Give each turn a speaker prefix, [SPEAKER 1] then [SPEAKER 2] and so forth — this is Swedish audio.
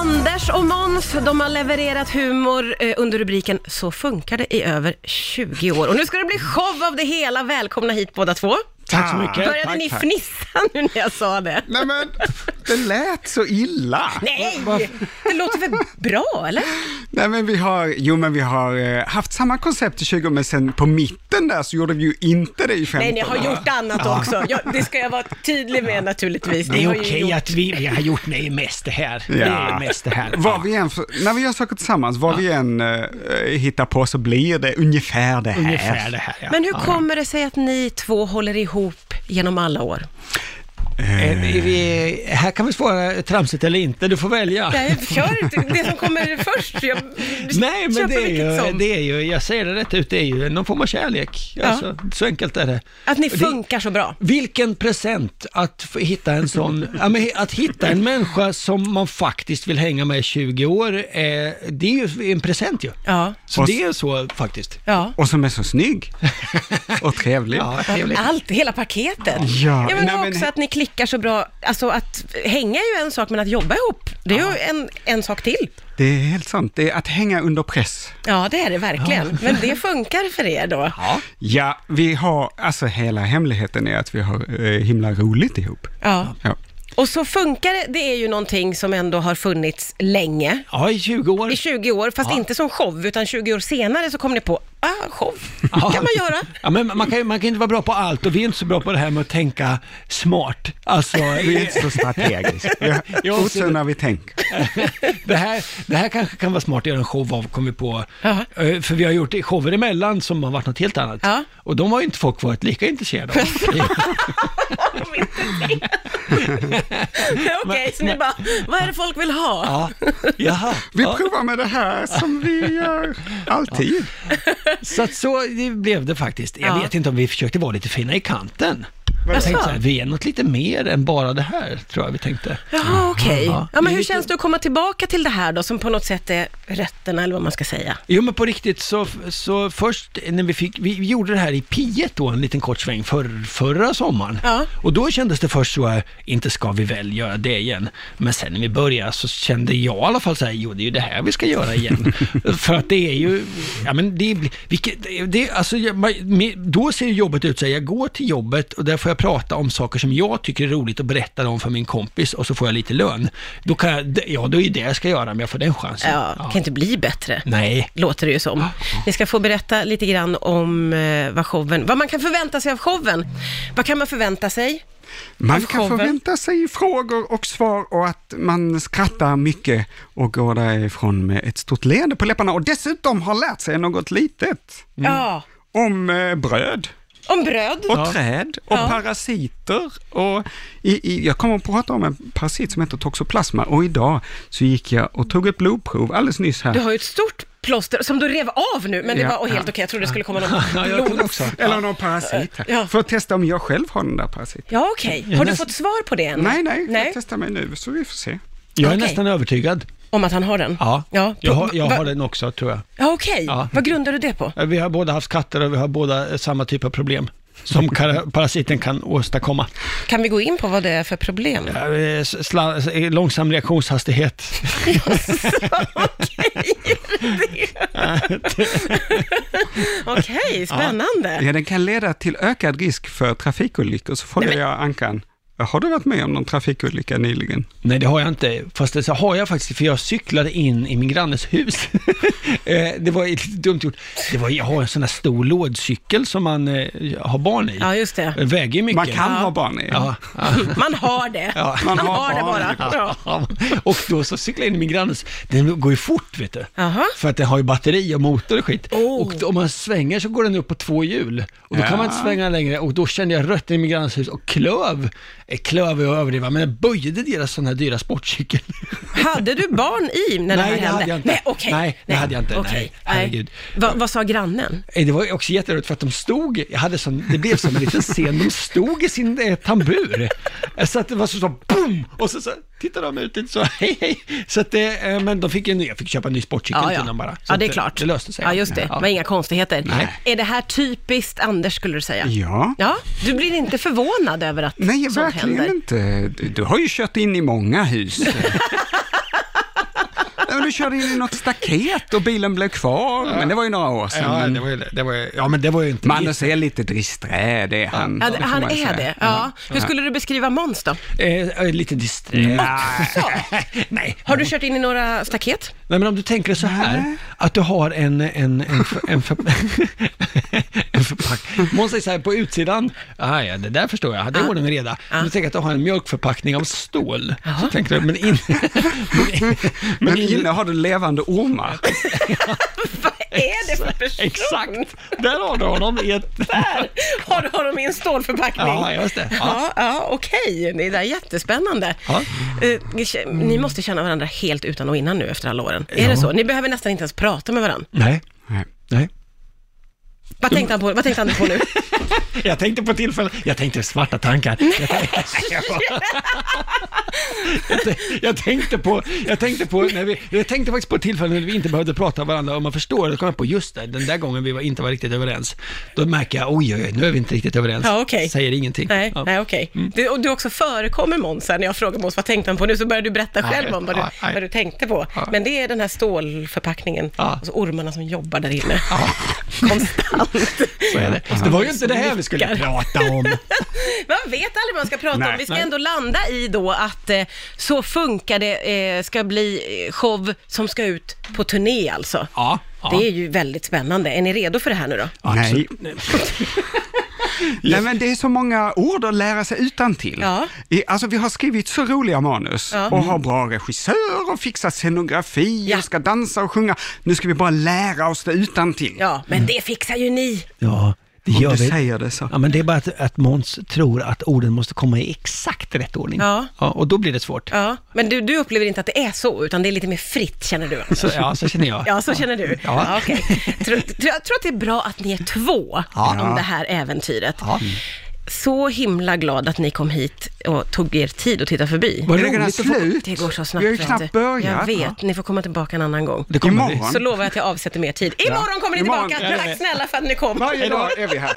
[SPEAKER 1] Anders och Måns, de har levererat humor eh, under rubriken “Så funkar det i över 20 år”. Och nu ska det bli show av det hela. Välkomna hit båda två.
[SPEAKER 2] Tack så mycket.
[SPEAKER 1] Började ni fnissa nu när jag sa det?
[SPEAKER 2] Nej men, det lät så illa.
[SPEAKER 1] Nej, det låter för bra eller?
[SPEAKER 2] Nej men vi har, jo men vi har eh, haft samma koncept i 20 år, men sen på mitten där så gjorde vi ju inte det i 15
[SPEAKER 1] Nej, ni har gjort annat också. Jag, det ska jag vara tydlig med naturligtvis. Ni
[SPEAKER 3] Det
[SPEAKER 1] har
[SPEAKER 3] är
[SPEAKER 1] ju
[SPEAKER 3] okej
[SPEAKER 1] gjort-
[SPEAKER 3] att vi, vi har gjort med mest det här. Det
[SPEAKER 2] Ja.
[SPEAKER 3] är mest det här.
[SPEAKER 2] Vad vi än, för- när vi gör saker tillsammans, vad vi än eh, hittar på så blir det ungefär det här.
[SPEAKER 3] Ungefär det här. Ja.
[SPEAKER 1] Men hur kommer det sig att ni två håller ihop genom alla år?
[SPEAKER 3] Eh, är vi, här kan vi svara tramsigt eller inte, du får välja.
[SPEAKER 1] Nej, kör inte det som kommer först. Jag
[SPEAKER 3] Nej, men
[SPEAKER 1] köper
[SPEAKER 3] det
[SPEAKER 1] vilket
[SPEAKER 3] är, ju,
[SPEAKER 1] som.
[SPEAKER 3] det är ju, jag säger det rätt ut, det är ju någon form av kärlek. Alltså, så enkelt är det.
[SPEAKER 1] Att ni
[SPEAKER 3] Och det-
[SPEAKER 1] funkar så bra.
[SPEAKER 3] Vilken present att få hitta en sån, ja, men att hitta en människa som man faktiskt vill hänga med i 20 år, eh, det är ju en present ju.
[SPEAKER 1] Ja,
[SPEAKER 3] Så
[SPEAKER 2] Och-
[SPEAKER 3] det är så faktiskt.
[SPEAKER 1] ja.
[SPEAKER 2] Och som är så snygg och trevlig.
[SPEAKER 3] Ja, trevligt.
[SPEAKER 1] Allt, hela paketet.
[SPEAKER 2] Ja,
[SPEAKER 1] men
[SPEAKER 2] nej,
[SPEAKER 1] och
[SPEAKER 2] men-
[SPEAKER 1] också att ni klickar så bra. Alltså att hänga är ju en sak, men att jobba ihop, det är ju en, en sak till.
[SPEAKER 2] Det är helt sant, det är att hänga under press.
[SPEAKER 1] Ja, det är det verkligen. Men det funkar för er då.
[SPEAKER 3] Ja.
[SPEAKER 2] Ja, vi har, alltså hela hemligheten är att vi har eh, himla roligt ihop.
[SPEAKER 1] Ja.
[SPEAKER 2] Ja.
[SPEAKER 1] Och så funkar det, det är ju någonting som ändå har funnits länge.
[SPEAKER 3] ja, i 20 år.
[SPEAKER 1] I 20 år, fast inte som show, utan 20 år senare så kom ni på, ah, show,
[SPEAKER 3] Ja.
[SPEAKER 1] kan man göra.
[SPEAKER 3] Ja, men man kan ju man kan inte vara bra på allt och vi är inte så bra på det här med att tänka smart. Alltså,
[SPEAKER 2] Vi är inte så strategiska. Vi
[SPEAKER 3] Ja,
[SPEAKER 2] har
[SPEAKER 3] så-
[SPEAKER 2] otur när vi tänker.
[SPEAKER 3] det, här, det här kanske kan vara smart att göra en show av, kom vi på.
[SPEAKER 1] Ja.
[SPEAKER 3] Eh, För vi har gjort shower emellan som har varit något helt annat.
[SPEAKER 1] Ja.
[SPEAKER 3] Och de har ju inte folk varit lika intresserade av.
[SPEAKER 1] Om inte det. Okej, så ni bara, vad är det folk vill ha?
[SPEAKER 3] ja. Jaha.
[SPEAKER 2] Vi
[SPEAKER 3] Ja.
[SPEAKER 2] provar med det här som vi gör alltid.
[SPEAKER 3] Så, att så det blev det faktiskt. Jag
[SPEAKER 1] Ja.
[SPEAKER 3] vet inte om vi försökte vara lite fina i kanten. Jag
[SPEAKER 1] Jaså?
[SPEAKER 3] tänkte så här, vi är något lite mer än bara det här, tror jag vi tänkte.
[SPEAKER 1] Jaha, okej.
[SPEAKER 3] Ja.
[SPEAKER 1] Ja, men
[SPEAKER 3] Det är
[SPEAKER 1] hur
[SPEAKER 3] lite-
[SPEAKER 1] känns det att komma tillbaka till det här då, som på något sätt är rötterna eller vad man ska säga?
[SPEAKER 3] Jo men på riktigt så, så först när vi fick, vi gjorde det här i P1 då en liten kort sväng för, förra sommaren.
[SPEAKER 1] Ja.
[SPEAKER 3] Och då kändes det först så här, inte ska vi väl göra det igen. Men sen när vi började så kände jag i alla fall så här, jo det är ju det här vi ska göra igen. för att det är ju, ja men det, blir- vilket, det- det alltså, jag, man, med- då ser ju jobbet ut så här, jag går till jobbet och där får jag prata om saker som jag tycker är roligt och berätta om för min kompis och så får jag lite lön. Då kan jag, ja då är ju det jag ska göra om jag får den chansen.
[SPEAKER 1] Ja, kan inte bli bättre.
[SPEAKER 3] Nej.
[SPEAKER 1] Låter det ju som. Ni ska få berätta lite grann om eh, vad, showen, vad man kan förvänta sig av showen. Vad kan man förvänta sig?
[SPEAKER 2] Man
[SPEAKER 1] Av
[SPEAKER 2] kan
[SPEAKER 1] showen.
[SPEAKER 2] förvänta sig frågor och svar och att man skrattar mycket och går därifrån med ett stort leende på läpparna och dessutom har lärt sig något litet
[SPEAKER 1] Ja,
[SPEAKER 2] om eh, bröd
[SPEAKER 1] om bröd.
[SPEAKER 2] och
[SPEAKER 3] Mm. Ja.
[SPEAKER 2] träd och
[SPEAKER 1] Ja.
[SPEAKER 2] parasiter. Och i, i, jag kommer att prata om en parasit som heter toxoplasma och idag så gick jag och tog ett blodprov alldeles nyss här.
[SPEAKER 1] Du har ju ett stort plåster som du rev av nu, men det
[SPEAKER 2] Ja,
[SPEAKER 1] var helt
[SPEAKER 2] ja.
[SPEAKER 1] okej. Jag trodde det skulle komma
[SPEAKER 3] Ja,
[SPEAKER 1] någon
[SPEAKER 3] jag
[SPEAKER 1] blod.
[SPEAKER 3] trodde också.
[SPEAKER 2] Eller någon parasit här.
[SPEAKER 1] Ja.
[SPEAKER 2] För att testa om jag själv har den där parasiten.
[SPEAKER 1] Ja, okej. Har du
[SPEAKER 3] nästan-
[SPEAKER 1] fått svar på det än?
[SPEAKER 2] Nej, nej,
[SPEAKER 1] Mm. nej.
[SPEAKER 2] jag testar mig nu så vi får se.
[SPEAKER 3] Jag är
[SPEAKER 1] Okej.
[SPEAKER 3] nästan övertygad.
[SPEAKER 1] Om att han har den?
[SPEAKER 3] Ja,
[SPEAKER 1] ja.
[SPEAKER 3] Jag, har, jag
[SPEAKER 1] Va-
[SPEAKER 3] har den också tror jag.
[SPEAKER 1] Ja, okej.
[SPEAKER 3] Ja.
[SPEAKER 1] Vad grundar du det på?
[SPEAKER 3] Vi har båda haft katter och vi har båda eh, samma typ av problem som kar- parasiten kan åstadkomma.
[SPEAKER 1] Kan vi gå in på vad det är för problem?
[SPEAKER 3] Eh, s- Sla, s- eh, långsam reaktionshastighet.
[SPEAKER 1] Okej, spännande.
[SPEAKER 2] Ja, den kan leda till ökad risk för trafikolyckor. Så frågar jag Ankan, har du varit med om någon trafikolycka nyligen?
[SPEAKER 3] Nej, det har jag inte. Fast det så har jag faktiskt, för jag cyklade in i min grannes hus. Eh, det var lite dumt gjort. Det var, jag har en sån här stor lådcykel som man eh, har barn i.
[SPEAKER 1] Ja, just det.
[SPEAKER 3] Den väger ju mycket.
[SPEAKER 2] Man kan ha barn i.
[SPEAKER 3] Ja, ja.
[SPEAKER 1] Man har det.
[SPEAKER 3] Ja.
[SPEAKER 1] Man,
[SPEAKER 2] Man
[SPEAKER 1] har,
[SPEAKER 2] har
[SPEAKER 1] det bara.
[SPEAKER 2] barn.
[SPEAKER 1] Ja.
[SPEAKER 3] Ja, och då så cyklade jag in i min grannes, den går ju fort vet du.
[SPEAKER 1] Jaha.
[SPEAKER 3] För att den har ju batteri och motor och skit.
[SPEAKER 1] Oh.
[SPEAKER 3] Och då, om man svänger så går den upp på två hjul. Och då kan
[SPEAKER 2] Ja.
[SPEAKER 3] man inte svänga längre och då kände jag rött i min grannes hus och klöv, eh, klöv är att överdriva, men jag böjde deras sån här dyra sportcykel.
[SPEAKER 1] Hade du barn i när det här
[SPEAKER 3] Nej, det
[SPEAKER 1] hände?
[SPEAKER 3] hade jag inte.
[SPEAKER 1] Nej, okej.
[SPEAKER 3] Nej, det hade jag inte. Nej,
[SPEAKER 1] Okej.
[SPEAKER 3] herregud.
[SPEAKER 1] Va, vad sa grannen?
[SPEAKER 3] Eh, Det var ju också jätteroligt för att de stod, jag hade sån, det blev som en liten scen, de stod i sin eh, tambur. Eh, Så att det var så, så boom! Och så, så tittade de ut lite så, hej hej. Så att det, eh, men de fick en ny, jag fick köpa en ny sportcykel till dem bara. Så
[SPEAKER 1] ja, det är
[SPEAKER 3] att
[SPEAKER 1] klart.
[SPEAKER 3] Det löste sig.
[SPEAKER 1] Ja, just det. Det var inga konstigheter.
[SPEAKER 3] Nej.
[SPEAKER 1] Är det här typiskt Anders, skulle du säga?
[SPEAKER 2] Ja.
[SPEAKER 1] Ja, du blir inte förvånad över att
[SPEAKER 2] Nej,
[SPEAKER 1] sånt
[SPEAKER 2] verkligen
[SPEAKER 1] händer?
[SPEAKER 2] inte. Du, du har ju kört in i många hus. du körde in i något staket och bilen blev kvar, men det var ju några år sedan.
[SPEAKER 3] Ja,
[SPEAKER 2] men
[SPEAKER 3] det var, ju- det var, ju- ja, men det var ju inte mitt.
[SPEAKER 2] Magnus är lite disträ, det är han.
[SPEAKER 1] Ja,
[SPEAKER 2] Det
[SPEAKER 1] det-
[SPEAKER 2] får
[SPEAKER 1] han
[SPEAKER 2] man
[SPEAKER 1] är
[SPEAKER 2] säga.
[SPEAKER 1] det. Ja. Hur skulle du beskriva Måns då?
[SPEAKER 3] Eh, eh, lite disträ.
[SPEAKER 1] Så,
[SPEAKER 3] Nej.
[SPEAKER 1] har du kört in i några staket?
[SPEAKER 3] Nej, men om du tänker så här, att du har en, en, en, för- en, för, en förpackning. Måns säger så här på utsidan, ah, ja, det där förstår jag, det är ordning och reda. Om du tänker att du har en mjölkförpackning av stål, så tänker du, men in, men,
[SPEAKER 2] Men
[SPEAKER 3] men in,
[SPEAKER 2] inne har du levande ormar.
[SPEAKER 1] Vad är det för person?
[SPEAKER 3] exakt, där har du honom i ett...
[SPEAKER 1] Har du honom i en stålförpackning?
[SPEAKER 3] Ja, just det.
[SPEAKER 1] Ja, ja okej. Det där är jätterspännande.
[SPEAKER 3] Ja.
[SPEAKER 1] Eh, ni k- ni måste känna varandra helt utan och innan nu efter alla åren. Är det så? Ni behöver nästan inte ens prata med varandra.
[SPEAKER 3] Nej, nej.
[SPEAKER 1] Vad tänkte han på, vad tänkte han på nu?
[SPEAKER 3] Jag tänkte på tillfället, jag tänkte svarta tankar. Jag tänkte, jag, bara- jag, tänkte, jag tänkte på, jag tänkte på, när vi, jag tänkte faktiskt på ett tillfälle när vi inte behövde prata med varandra och man förstår, då kom jag på just det, den där gången vi var, inte var riktigt överens. Då märker jag, oj, oj, oj, nu är vi inte riktigt överens.
[SPEAKER 1] Ja, okej.
[SPEAKER 3] Säger ingenting.
[SPEAKER 1] Nej,
[SPEAKER 3] Ja. Mm.
[SPEAKER 1] nej okej. Du, och du också förekommer Måns här, när jag frågar Måns vad tänkte han på nu, så börjar du berätta
[SPEAKER 3] Nej,
[SPEAKER 1] själv om vad du,
[SPEAKER 3] ja, nej.
[SPEAKER 1] vad du tänkte på.
[SPEAKER 3] Ja.
[SPEAKER 1] Men det är den här stålförpackningen
[SPEAKER 3] Ja.
[SPEAKER 1] och så ormarna som jobbar där inne. Konstant.
[SPEAKER 3] Så är det. det var ju inte det här vi skulle prata om.
[SPEAKER 1] Man vet aldrig vad man ska prata om.
[SPEAKER 2] Nej.
[SPEAKER 1] Vi ska
[SPEAKER 3] Nej.
[SPEAKER 1] ändå landa i då att eh, Så funkar det eh, ska bli eh, show som ska ut på turné alltså.
[SPEAKER 3] Ja, ja.
[SPEAKER 1] Det är ju väldigt spännande. Är ni redo för det här nu då?
[SPEAKER 2] Nej. Nej, men det är så många ord att lära sig utan till.
[SPEAKER 1] Ja.
[SPEAKER 2] I- Alltså, vi har skrivit så roliga manus
[SPEAKER 1] Ja.
[SPEAKER 2] och har bra regissör och fixar scenografi
[SPEAKER 1] Ja.
[SPEAKER 2] och ska dansa och sjunga. Nu ska vi bara lära oss det utan till.
[SPEAKER 1] Ja, men det fixar ju ni.
[SPEAKER 3] Ja, det
[SPEAKER 2] Om
[SPEAKER 3] gör
[SPEAKER 2] du
[SPEAKER 3] vi.
[SPEAKER 2] säger det så.
[SPEAKER 3] Ja, men det är bara att, att Måns tror att orden måste komma i exakt rätt ordning.
[SPEAKER 1] Ja.
[SPEAKER 3] och då blir det svårt.
[SPEAKER 1] Ja, men du, du upplever inte att det är så, utan det är lite mer fritt känner du? alltså?
[SPEAKER 3] Så, ja, så känner jag.
[SPEAKER 1] Ja, så känner du.
[SPEAKER 3] Ja.
[SPEAKER 1] Ja. okej. Tror- tror- Jag tror att det är bra att ni är två om det här äventyret.
[SPEAKER 3] Ja.
[SPEAKER 1] Så himla glad att ni kom hit och tog er tid att titta förbi.
[SPEAKER 3] Vad
[SPEAKER 2] Är det redan
[SPEAKER 3] roligt att få-
[SPEAKER 2] slut?
[SPEAKER 1] Det går så snabbt.
[SPEAKER 2] Vi har ju
[SPEAKER 1] vet du.
[SPEAKER 2] knappt börjat.
[SPEAKER 1] Jag vet, ni får komma tillbaka en annan gång.
[SPEAKER 3] Det kommer
[SPEAKER 2] Imorgon.
[SPEAKER 3] vi.
[SPEAKER 1] Så lovar jag att jag avsätter mer tid. Imorgon kommer ni
[SPEAKER 2] Imorgon.
[SPEAKER 1] tillbaka.
[SPEAKER 2] Ja,
[SPEAKER 1] Tack snälla för att ni kom.
[SPEAKER 2] Varje dag är vi här.